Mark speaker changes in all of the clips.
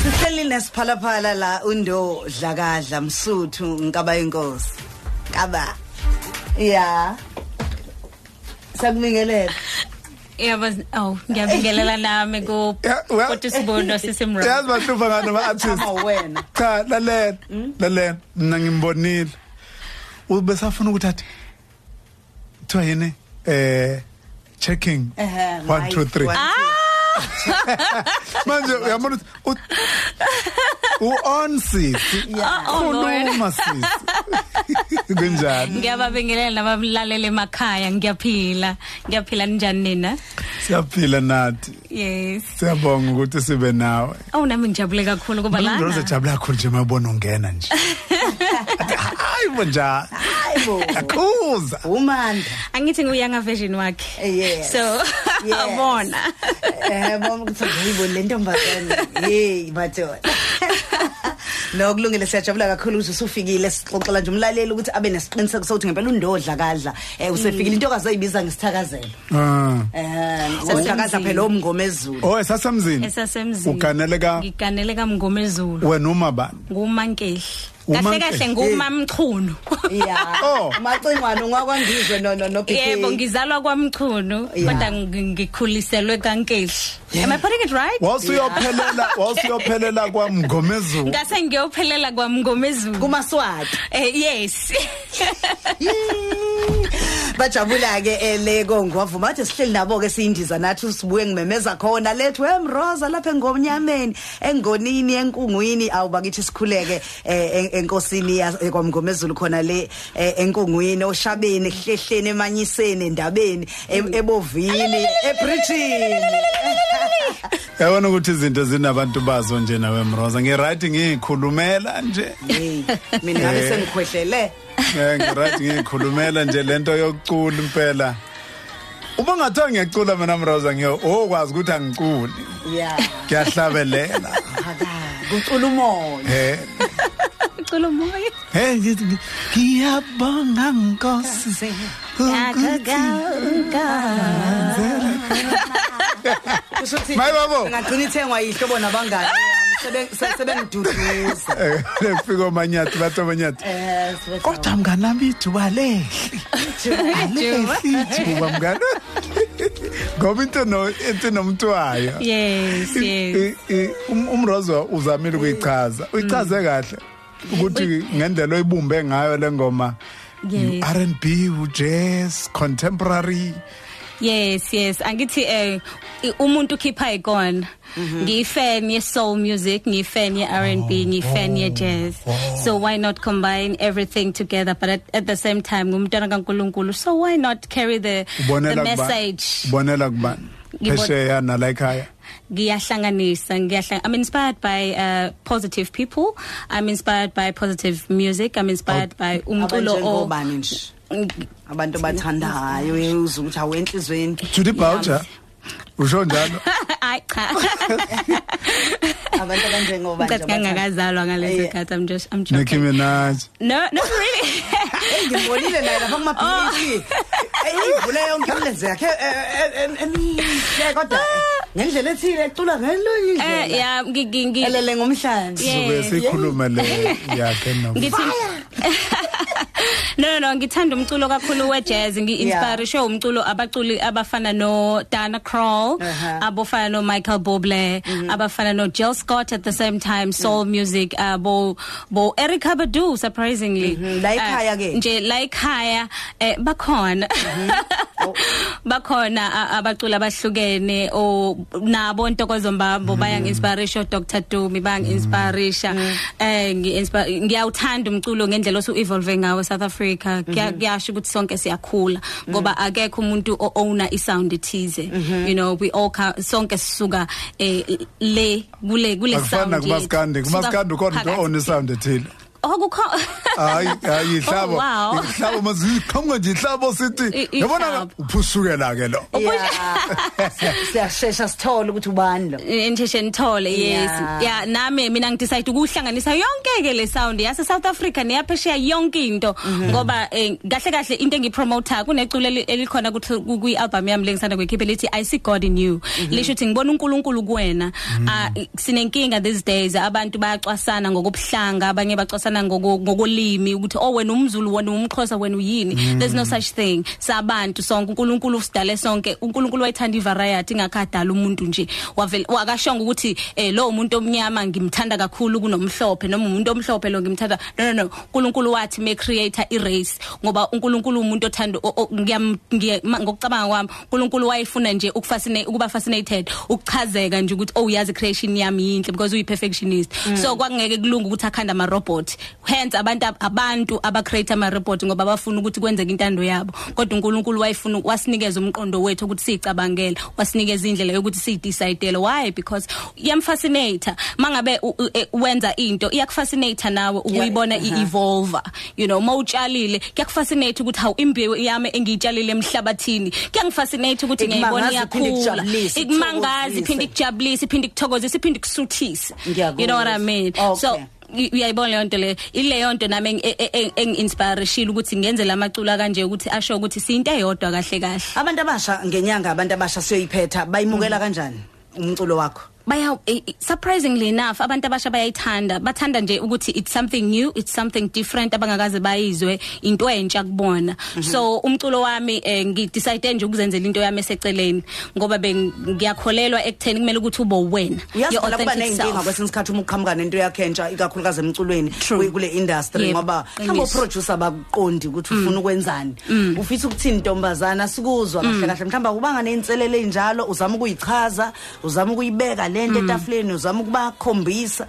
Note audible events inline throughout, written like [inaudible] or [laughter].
Speaker 1: Siselina siphalaphala la undo dlakadla msuthu nkaba inkosi. Kaba. Yeah. Sakubingelela.
Speaker 2: yabo oh ngiyabingelela nami ku
Speaker 3: Yeah, well-
Speaker 2: kodwa
Speaker 3: [laughs]
Speaker 2: sibono
Speaker 3: yazi
Speaker 2: sisimra
Speaker 3: bahlupha ngani ama-artist
Speaker 1: Ama wena.
Speaker 3: cha lalela
Speaker 2: Hmm?
Speaker 3: lalela mna ngimbonile ubesafuna ukuthi athi kuthiwa yini um checking
Speaker 1: Ehhe,
Speaker 3: one
Speaker 1: right,
Speaker 3: two three
Speaker 1: one,
Speaker 3: manje uyabona ukuthi u-on sisi
Speaker 1: Yeah.
Speaker 2: Oh, oh, Lord.
Speaker 3: khuluma sisi [laughs] kunjani
Speaker 2: ngiyababingelela nabamlaleli emakhaya ngiyaphila ngiyaphila njani nina
Speaker 3: siyaphila nathi
Speaker 2: yes
Speaker 3: siyabonga ukuthi sibe nawe
Speaker 2: awu nami ngijabule kakhulu kuba
Speaker 3: Malindroza
Speaker 2: lana
Speaker 3: ejabula kakhulu nje mabona
Speaker 2: [laughs]
Speaker 3: ungena nje hayi bonja
Speaker 1: Hayibo.
Speaker 3: akhuza
Speaker 1: Umanda.
Speaker 2: angithi nguyanga version wakhe
Speaker 1: Yes.
Speaker 2: so [laughs]
Speaker 1: Yes.
Speaker 2: abona
Speaker 1: Eh mama kuthi ngibo le ntombazane. Hey madodana. No kulungile siyajabula kakhulu ukuthi usufikile sixoxela nje umlaleli ukuthi abe nesiqiniseko sokuthi ngempela undodla kadla eh usefikile into kazoyibiza ngisithakazelo.
Speaker 3: Ah.
Speaker 1: Eh usithakaza phela omngoma ezulu.
Speaker 3: oh esasemzini
Speaker 2: esasemzini
Speaker 3: uganele ka
Speaker 2: ngiganele kamngomezulu
Speaker 3: wena uma bani
Speaker 2: ngumankeli kahle
Speaker 3: Umankele.
Speaker 2: kahle ngumamchunu
Speaker 1: Yeah.
Speaker 3: Oh.
Speaker 1: Macingwana ungakwangizwe no no no
Speaker 2: [laughs] yebo
Speaker 1: PK.
Speaker 2: ngizalwa kwamchunu
Speaker 1: Yeah.
Speaker 2: kodwa ngi- ngikhuliselwe kankehli am i putting it right
Speaker 3: wasuyophelela wasuyophelela kwamngomezulu
Speaker 2: ngase ngiyophelela kwamngomezulu
Speaker 1: kumaswati
Speaker 2: eh yes
Speaker 1: bajabula ke eleko ngiwavuma athi sihleli nabo ke siyindiza nathi sibuye ngimemeza khona lethu emroza lapha engomnyameni engonini enkungwini awubakithi sikhuleke eh, en- enkosini ya- eh, kwamngomezulu khona le eh, enkungwini oshabeni ehlehleni emanyiseni endabeni em- ebovini ebridgini
Speaker 3: yabona ukuthi izinto zinabantu bazo nje nawe mroza ngirayithi ngiyikhulumela nje
Speaker 1: Hey, mina ngabe
Speaker 3: Eh.
Speaker 1: sengikhwehlele
Speaker 3: Eh, ngirayithi ngiyikhulumela nje lento yokucula impela uma ngathiwa ngiyacula mina mroza ngiyo okwazi ukuthi angiculi
Speaker 1: ya
Speaker 3: ngiyahlabelela
Speaker 1: kucula umoya
Speaker 3: eh
Speaker 2: ucula umoya
Speaker 3: hey ngithi ngi- ngiyabonga nkosi Mayibabo.
Speaker 1: ngagcina ithengwa yihlobo nabangani Sebe- se- sebengiduduza
Speaker 3: efika omanyathi bathi omanyathi
Speaker 1: Eh, sibe-
Speaker 3: kodwa mnganami ijuba lehli lehli ijuba mngani ngoba into no- into nomntwayo
Speaker 2: yes yes
Speaker 3: I- i- um- umrozo uzamile ukuyichaza
Speaker 2: Mm.
Speaker 3: uyichaze kahle ukuthi ngendlela oyibumbe ngayo le ngoma
Speaker 2: Yes.
Speaker 3: R and B, jazz, contemporary.
Speaker 2: yes yes angithi eh i- umuntu ukhipha ikona ngiyifan ye soul music ngiyifan ye R&B ngiyifan ye jazz so why not combine everything together but at, at the same time ngumntwana kaNkuluNkulu so why not carry the the
Speaker 3: Ubonela kubani?
Speaker 2: message
Speaker 3: Ubonela kubani?
Speaker 2: Ngibon-
Speaker 3: Phesheya nalayikhaya.
Speaker 2: ngiyahlanganisa ngiyahlang I'm inspired by uh, positive people I'm inspired by positive music I'm inspired by umculo o [laughs]
Speaker 1: abanjengobani nje abantu abathandayo uze ukuthi awu enhliziyweni
Speaker 3: Judy Boucher. Usho njalo.
Speaker 2: Ay, [laughs] cha
Speaker 1: abantu abanjengoba
Speaker 2: Ngicathi ngingakazalwa ngaleso
Speaker 1: Yeah.
Speaker 2: khathi I'm just I'm
Speaker 3: Nicki
Speaker 2: joking
Speaker 3: Minaj.
Speaker 2: No not really
Speaker 1: ngimbonile naye lapha
Speaker 2: Oh.
Speaker 1: kumabhikishi ivule yonke eh, imilenze yakhe emihle kodwa ngendlela ethile ecula ngelonye
Speaker 2: Eh
Speaker 1: indlela
Speaker 2: [laughs] [laughs] yeah ngi- ngi- ngi-
Speaker 1: elele ngomhlanje
Speaker 2: Yeah.
Speaker 3: Sobe sikhuluma
Speaker 2: [laughs]
Speaker 3: le yakhe no.
Speaker 2: ngithi [laughs] No no ngithanda umculo kakhulu we jazz ngi-inspire show umculo abaculi abafana no Dana Kroll
Speaker 1: Uh-huh.
Speaker 2: abafana no Michael Bublé abafana no Jill Scott at the same time soul music abo bo Erica Badu surprisingly
Speaker 1: Mhm, la
Speaker 2: Eh,
Speaker 1: ekhaya ke.
Speaker 2: nje la ekhaya eh, bakhona
Speaker 3: Mm-hmm.
Speaker 2: [laughs]
Speaker 3: Oh.
Speaker 2: bakhona a- abaculi abahlukene o nabo Ntokozo
Speaker 3: Mm-hmm.
Speaker 2: Mbambo bayangi-inspirisha oh, Dr Dumi bayangi-inspirisha
Speaker 3: Mm-hmm.
Speaker 2: eh ngi-inspire- ngiyawuthanda umculo ngendlela osu evolve ngawo South Africa
Speaker 3: Mm-hmm.
Speaker 2: Kuya- kuyasho ukuthi sonke siyakhula ngoba akekho umuntu o owner isound
Speaker 3: Mm-hmm.
Speaker 2: ethize you know we all ca- sonke sisuka eh, le kule kule sound
Speaker 3: Akufana
Speaker 2: yethu.
Speaker 3: kumaskandi.
Speaker 2: Suka
Speaker 3: Kumaskandi ukhona
Speaker 2: phakathi.
Speaker 3: into on sound ethile.
Speaker 2: [laughs] okukho
Speaker 3: hayi hayi ihlabo
Speaker 2: Oh, wow.
Speaker 3: ihlabo maziqhamuka nje ihlabo sithi
Speaker 2: I- ihlabo.
Speaker 3: yabona uphusukela ke lo
Speaker 1: Yeah. siyashesha sithole ukuthi ubani lo
Speaker 2: nisheshe nithole yes
Speaker 1: Yeah.
Speaker 2: ya nami mina ngidecide ukuhlanganisa yonke ke le sound yase South Africa neyaphesheya yonke into ngoba eh, kahle kahle into engipromoter kuneculo eli- elikhona kuthi- kwi album yami lengisanda kwekhiphe lithi I see God in you lisho ukuthi ngibona uNkulunkulu kuwena Ah, sinenkinga these days abantu bayacwasana ngokubuhlanga abanye bacwasana ngoko- ngokolimi ukuthi oh wena umZulu wena umXhosa wena uyini there's no such thing sabantu sonke uNkulunkulu usidale sonke uNkulunkulu wayethanda ivariety ingakadala umuntu nje Wavele- wakashonga ukuthi eh lo umuntu omnyama ngimthanda kakhulu kunomhlophe noma umuntu omhlophe lo ngimthanda no no no uNkulunkulu wathi me creator irace ngoba uNkulunkulu umuntu othanda o- o- ngiyam- ngiye- ma- ngokucabanga kwami uNkulunkulu wayefuna nje ukufascinate ukuba fascinated ukuchazeka nje ukuthi oh uyazi creation yami yinhle because uyi perfectionist
Speaker 1: Mm.
Speaker 2: so kwakungeke kulunga ukuthi akhanda ama robot hence abantu ab- abantu aba create ama robot ngoba bafuna ukuthi kwenzeke intando yabo kodwa uNkulunkulu wayefuna wasinikeza umqondo wethu ukuthi sicabangele wasinikeza indlela yokuthi si decide why because iyamfascinate mangabe u- u- e- wenza into iyakufascinate nawe ukuyibona
Speaker 1: Yeah, uh-huh.
Speaker 2: i evolve you know mawutshalile kuyakufascinate ukuthi how imbewu yami engiyitshalile emhlabathini kuyangifascinate ukuthi ngiyayibona
Speaker 1: Ikumangaze, iphinde
Speaker 2: iyakhula
Speaker 1: ikujabulise,
Speaker 2: ikumangaze
Speaker 1: ikuthokozise.
Speaker 2: iphinde ikujabulise iphinde ikuthokozise iphinde ikusuthise
Speaker 1: Ngiyakuzwa.
Speaker 2: you know what i mean
Speaker 1: Okay.
Speaker 2: so u- uyayibona leyo nto leyo ileyo nto nami engi- e- e- engi-inspireshile ukuthi ngenze la macula kanje ukuthi asho ukuthi siyinto eyodwa kahle kahle
Speaker 1: abantu abasha ngenyanga abantu abasha siyoyiphetha
Speaker 2: Mm.
Speaker 1: bayimukela kanjani umculo wakho
Speaker 2: baya eh, eh, surprisingly enough abantu abasha bayayithanda bathanda nje ukuthi it's something new it's something different abangakaze bayizwe into entsha kubona
Speaker 1: Mhm.
Speaker 2: so umculo wami eh, ngidecide nje ukuzenzela into yami eseceleni ngoba beng- ngiyakholelwa ekutheni kumele ukuthi ube wena your
Speaker 1: uyazidala kuba
Speaker 2: authentic
Speaker 1: ney'nkinga
Speaker 2: self.
Speaker 1: kwesinye isikhathi uma uqhamuka nento yakho entsha ikakhulukazi emculweni
Speaker 2: True.
Speaker 1: kwi- kule industry
Speaker 2: Yebo, Mm.
Speaker 1: ngoba
Speaker 2: qiniso.
Speaker 1: mhlawumbe oproducer bakuqondi ukuthi ufuna ukwenzani ufisa ukuthini ntombazana sikuzwa
Speaker 2: Mm.
Speaker 1: kahle kahle mhlawumbe akubanga ney'nselelo ey'njalo uzama ukuyichaza uzama ukuyibeka le
Speaker 2: Mm.
Speaker 1: nto etafuleni uzama ukubakhombisa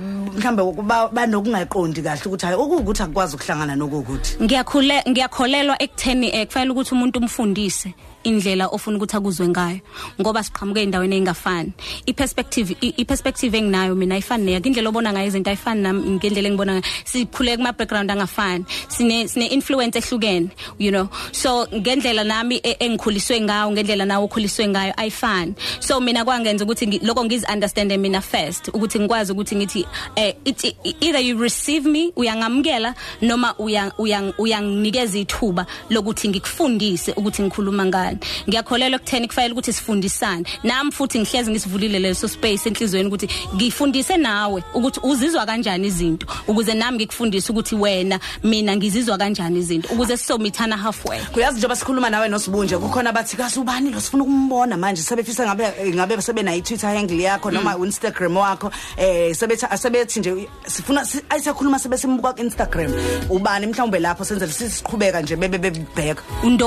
Speaker 1: mhlawumbe ba- banokungaqondi kahle ukuthi hayi okuwukuthi akukwazi ukuhlangana nokuwukuthi
Speaker 2: ngiyakhule ngiyakholelwa ekutheni eh, kufanele ukuthi umuntu umfundise indlela ofuna ukuthi akuzwe ngayo ngoba siqhamuke endaweni engafani iperspective i- iperspective enginayo mina ayifani neyakho indlela obona ngayo izinto ayifani nami ngendlela engibona ngayo sikhule kuma background angafani sine sine influence ehlukene you know so ngendlela nami e- engikhuliswe ngayo ngendlela nawe ukhuliswe ngayo ayifani so mina kwangenza ukuthi ngi- lokho ngizi understand mina first ukuthi ngikwazi ukuthi ngithi eh it- i- either you receive me uyangamukela noma uya- uya- uyanginikeza ithuba lokuthi ngikufundise ukuthi ngikhuluma ngani ngiyakholelwa ekutheni kufanele ukuthi sifundisane nami futhi ngihlezi ngisivulile leso space enhlizweni ukuthi ngifundise nawe ukuthi uzizwa kanjani izinto ukuze nami ngikufundise ukuthi wena mina ngizizwa kanjani izinto ukuze sizomithana halfway
Speaker 1: kuyazi njengoba sikhuluma nawe nosibunje kukhona bathi kasi ubani lo sifuna ukumbona manje sebefisa ngabe ngabe sebenayo i-twitter handle
Speaker 2: Mm.
Speaker 1: yakho noma u-instagram wakho um sebethi asebethi nje sifuna si- ayisakhuluma sebesimbuka ku-instagram ubani mhlawumbe lapho senzele sisiqhubeka nje bebe bebheka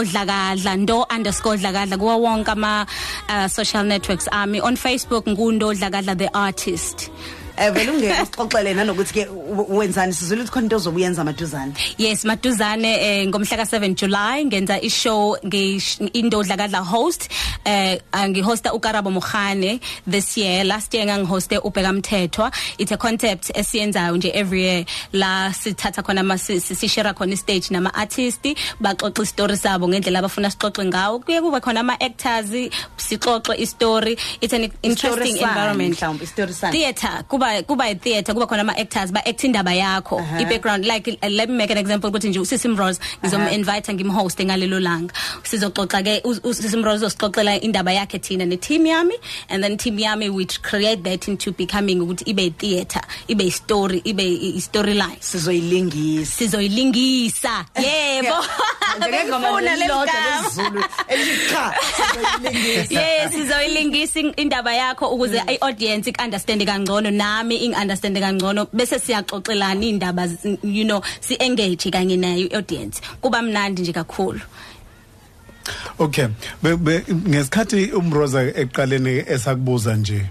Speaker 2: undodlakadla ndo underscore dlakadla kuwo wonke ama uh, social networks ami on facebook ngundodlakadla the artist
Speaker 1: um vele
Speaker 2: [laughs]
Speaker 1: ungeke usixoxele nanokuthi-ke u- wenzani sizule ukuthi khona into ozobuyenza amaduzane
Speaker 2: yes maduzane eh, ngomhla ka7 july ngenza ishow nge- indodlakadla host eh angihosta ukarabo mohane this year last year ngangihoste ubheka mthethwa it's a concept esiyenzayo nje every year la sithatha khona ama si- si- sishare khona istage nama artist baxoxa istory sabo ngendlela abafuna sixoxe ngawo kuye kuba khona ama actors sixoxe istory it's an interesting
Speaker 1: Istory sani,
Speaker 2: environment
Speaker 1: mhlawumbe istory sani
Speaker 2: theater kuba kuba theater kuba khona ama actors ba act indaba yakho
Speaker 1: Uh-huh.
Speaker 2: i background like uh, let me make an example ukuthi nje usisi Mrose ngizom invite ngimhost ngalelo langa sizoxoxa ke us- usisi Mrose uzosixoxela indaba yakhe thina ne team yami and then team yami which create that into becoming ukuthi ibe theater ibe story ibe i- i- storyline
Speaker 1: sizoyilingisa
Speaker 2: sizoyilingisa yebo Bengifuna leli gama.
Speaker 1: lezulu elithi cha sizoyilingisa
Speaker 2: yes sizoyilingisa in- indaba yakho ukuze i-audience iku-understande kangcono nami ingi-understande kangcono bese siyaxoxelana iy'ndaba z- you know si-engage kanye nayo i-audience kuba mnandi nje kakhulu
Speaker 3: okay Be- be- ngesikhathi umroza eqaleni esakubuza nje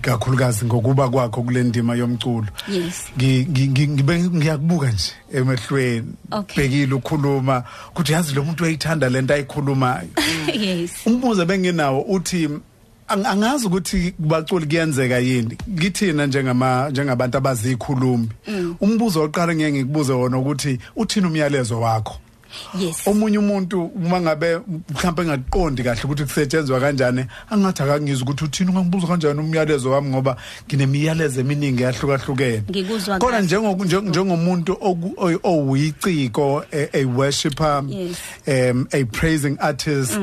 Speaker 3: kakhulukazi ngokuba kwakho kule ndima yomculo
Speaker 2: Yes.
Speaker 3: Ngi- ngi- ngi- ngibe- ngiyakubuka nje emehlweni
Speaker 2: Okay.
Speaker 3: bhekile ukhuluma
Speaker 2: Mm.
Speaker 3: ukuthi yazi lo muntu uyayithanda lento ayikhulumayo
Speaker 2: [laughs] yes
Speaker 3: umbuzo benginawo uthi ang- angazi ukuthi kubaculi kuyenzeka yini ngithina njengama njengabantu abazikhulumi umbuzo oqala ngeke ngikubuze wona ukuthi uthini umyalezo wakho
Speaker 2: yes
Speaker 3: omunye umuntu uma ngabe mhlawumbe engaqondi kahle ukuthi kusetshenzwa kanjani angathi akangizwa ukuthi uthini ungangibuza kanjani umyalezo wami ngoba nginemiyalezo eminingi yahlukahlukene
Speaker 2: Ngikuzwa
Speaker 3: kodwa
Speaker 2: kahle.
Speaker 3: njengoku- nje- njengomuntu oku- oy- owuyiciko eh, a worshipper
Speaker 2: Yes. Mm.
Speaker 3: um a praising artist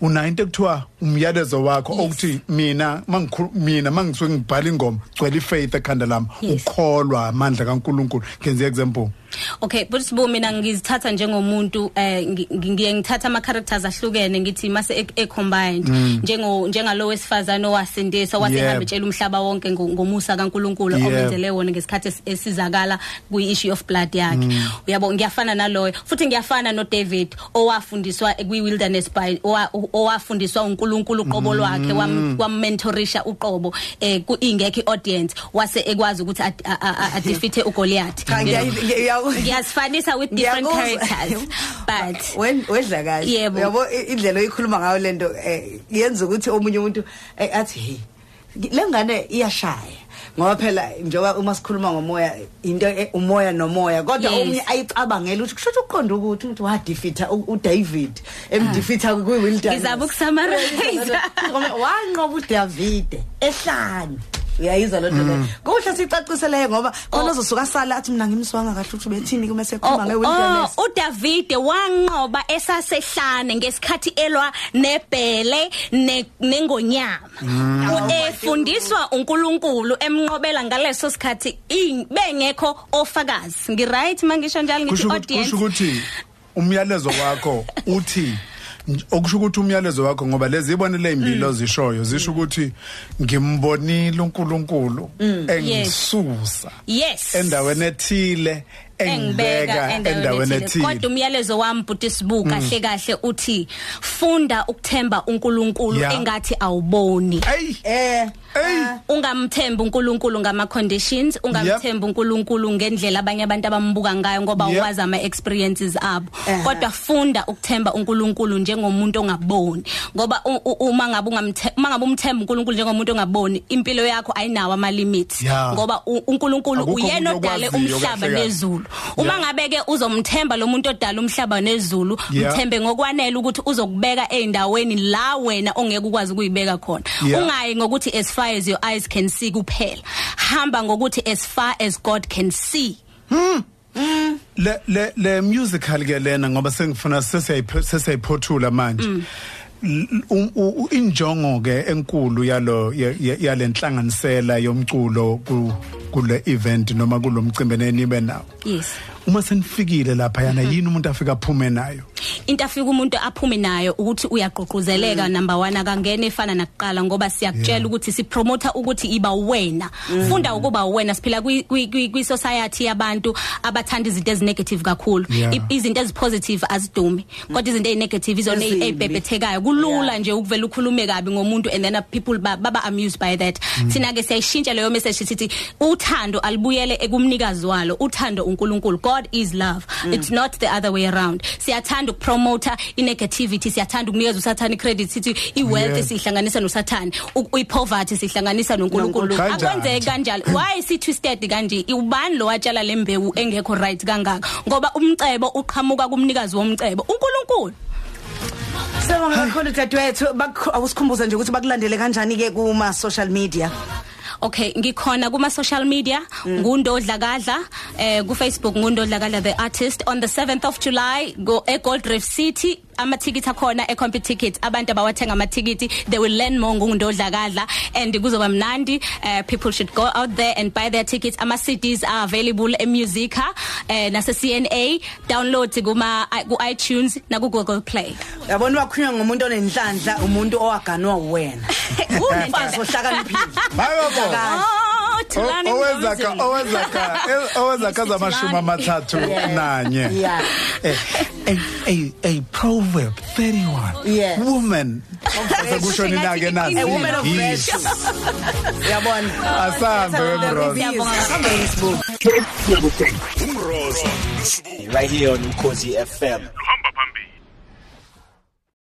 Speaker 3: unayo into ekuthiwa umyalezo wakho
Speaker 2: Yes.
Speaker 3: okuthi mina ma ngikhul- mina ma ngisuke ngibhala ingoma gcwele i-faith ekhanda lami
Speaker 2: Yes.
Speaker 3: ukholwa amandla kankulunkulu ngenze i-example
Speaker 2: okay but sibo mina ngizithatha njengomuntu eh ngi- ngi- ngiye ngithatha ama characters ahlukene ngithi mase e- e combined njengo njengalo wesifazane owasindisa
Speaker 3: Yebo.
Speaker 2: wasehamba etshela umhlaba wonke ngo- ngomusa kaNkuluNkulu
Speaker 3: Yebo.
Speaker 2: omenzele wona ngesikhathi es- esizakala kuyi issue of blood yakhe uyabo ngiyafana naloyo futhi ngiyafana no David owafundiswa kwi wilderness by owa- owafundiswa uNkulunkulu uqobo lwakhe wam- wamentorisha uqobo eh ku ingekho audience wase ekwazi ukuthi ad- a- a- a- a- defeat uGoliath
Speaker 1: Cha, ngiyayi- ngiyaku-
Speaker 2: ngiyasifanisa with different
Speaker 1: Ngiyakuzwa.
Speaker 3: [laughs]
Speaker 2: characters but
Speaker 1: [laughs] Wen- wedla kahle
Speaker 2: Yebo.
Speaker 1: yabo indlela oyikhuluma ngayo lento eh, yenza ukuthi omunye umuntu eh, athi hey le ngane iyashaya ngoba phela njengoba uma sikhuluma ngomoya into e- umoya nomoya kodwa
Speaker 2: Yes.
Speaker 1: omunye ayicabangela ukuthi kusho ukuthi uqonde ukuthi umuntu wadifitha uDavid emdifitha kwi-wilderness
Speaker 2: Ngizama
Speaker 3: [laughs]
Speaker 2: ukusummarize.
Speaker 1: Ngoba wanqoba uDavide ehlane uyayizwa loo nto leyo kuhle siyicaciseleyo ngoba khona
Speaker 2: Mm. Oh.
Speaker 1: ozosuka asala athi mina ngimswanga kahle ukuthi ubethini kume sekhuluma nge-wilderness
Speaker 2: Oh, uDavide wanqoba esasehlane ngesikhathi elwa nebhele ne-
Speaker 3: Mm.
Speaker 2: nengonyama. Efundiswa uNkulunkulu emnqobela ngaleso sikhathi i- bengekho ofakazi. Ngi right mangisho njalo ngithi
Speaker 3: kusho ukuthi-
Speaker 2: audience.
Speaker 3: kusho ukuthi umyalezo wakho uthi okusho ukuthi umyalezo wakho ngoba lezi ibonele imbilo zishoyo zisho ukuthi ngimbonile uNkulunkulu engisusa
Speaker 2: Yes.
Speaker 3: endaweni ethile engibeka endaweni
Speaker 2: kodwa
Speaker 3: ethile Mm.
Speaker 2: umyalezo wami bhuti sibu kahle kahle uthi funda ukuthemba uNkulunkulu
Speaker 3: Yeah.
Speaker 2: engathi awuboni
Speaker 3: hey
Speaker 1: Eh,
Speaker 3: hey
Speaker 2: ungamthembi uNkulunkulu ngama conditions ungamthembi uNkulunkulu ngendlela abanye abantu abambuka ngayo ngoba
Speaker 3: Yep.
Speaker 2: uwazi ama experiences abo
Speaker 1: Ehhe.
Speaker 2: kodwa funda ukuthemba uNkulunkulu njengomuntu ongaboni ngoba u- u- uma ngabe ungamthe- uma ngabe umthemba uNkulunkulu njengomuntu ongaboni impilo yakho ayinawo ama limits
Speaker 3: Yeah.
Speaker 2: ngoba u- uNkulunkulu
Speaker 3: Akukho
Speaker 2: uyena
Speaker 3: umuntu
Speaker 2: odale
Speaker 3: okwaziyo
Speaker 2: umhlaba
Speaker 3: kahle kahle.
Speaker 2: nezulu uma
Speaker 3: Yeah.
Speaker 2: ngabe ke uzomthemba lo muntu odala umhlaba nezulu
Speaker 3: Yeah.
Speaker 2: mthembe ngokwanele ukuthi uzokubeka eindaweni la wena ongeke ukwazi ukuyibeka khona
Speaker 3: Yeah.
Speaker 2: unga hayi ngokuthi as far as your eyes can see kuphela hamba ngokuthi as far as God can see
Speaker 3: le le le musical ke lena ngoba sengifuna sesiyayi- sesiyayiphothula manje L- u- u- u- injongo ke enkulu yalo ya- ya- yalenhlanganisela yomculo ku- kule event noma kulomcimbi nenibe nawo
Speaker 2: yes
Speaker 3: uma senifikile lapha yana yini umuntu afika aphume nayo
Speaker 2: into afika umuntu aphume nayo ukuthi uyaqoqozeleka number 1 akangene efana nakuqala ngoba
Speaker 3: Mm. Yeah. Mm.
Speaker 2: siyakutshela ukuthi sipromoter ukuthi iba wena funda ukuba wena siphila kwi- kwi kwi- kwi society yabantu abathanda izinto ezinegative kakhulu
Speaker 3: Yeah.
Speaker 2: I- izinto ezipositive azidumi kodwa izinto ezinegative izona
Speaker 1: Ezimbi.
Speaker 2: ezibhebhethekayo kulula
Speaker 1: Yeah.
Speaker 2: nje ukuvela ukhulume kabi ngomuntu and then uh, people ba- baba amused by that sina ke siyayishintsha leyo message sithi uthando alibuyele ekumnikazi walo uthando uNkulunkulu God is love it's not the other way around siyathanda ukupromoter inegativity siyathanda ukunikeza usathani credit sithi
Speaker 3: Yeah.
Speaker 2: iwealth sihlanganisa nosathani U- uyipoverty sihlanganisa noNkulunkulu
Speaker 3: NoNkulunkulu.
Speaker 2: akwenzeki
Speaker 3: Kanjani?
Speaker 2: kanjalo why si twisted kanje ubani lo watshala lembewu engekho right kangaka ngoba umcebo uqhamuka kumnikazi womcebo uNkulunkulu
Speaker 1: sengomkhulu dadewethu bakukho- awusikhumbuze nje ukuthi bakulandele kanjani-ke kuma-social media
Speaker 2: Okay ngikhona kuma social media ngundodlakadla eh ku Facebook ngundodlakadla the artist on the 7th of July go e Gold Reef City amathikithi akhona e Compit Tickets abantu abawathenga amathikithi they will learn more ngundodlakadla and kuzoba mnandi uh, people should go out there and buy their tickets ama CDs are available e Musica eh nase CNA download kuma ku iTunes na ku Google
Speaker 3: [laughs]
Speaker 2: Play
Speaker 1: yabona wakhunywa ngomuntu onenhlanhla umuntu owaganwa wena
Speaker 2: Umfazi
Speaker 3: [laughs]
Speaker 1: sohlakaniphile
Speaker 3: hayo bo
Speaker 2: Oh, Thulani
Speaker 3: O- owezakha
Speaker 2: Mnumzane.
Speaker 3: owezakha
Speaker 1: [laughs]
Speaker 3: e- owezakha
Speaker 2: Mr.
Speaker 3: zamashumi
Speaker 2: Thulani.
Speaker 3: amathathu
Speaker 1: Yeah.
Speaker 3: nanye
Speaker 1: Yeah.
Speaker 3: Eh, a, a, a proverb 31
Speaker 1: Yes.
Speaker 3: woman
Speaker 2: Kusho
Speaker 3: sekushoni na
Speaker 2: ngathi
Speaker 3: ke nasi
Speaker 1: a woman of
Speaker 3: Yes.
Speaker 1: virtue uyabona
Speaker 3: asambe webrosa
Speaker 1: Siyabonga kakhulu.
Speaker 4: umrozo right here on ukhosi fm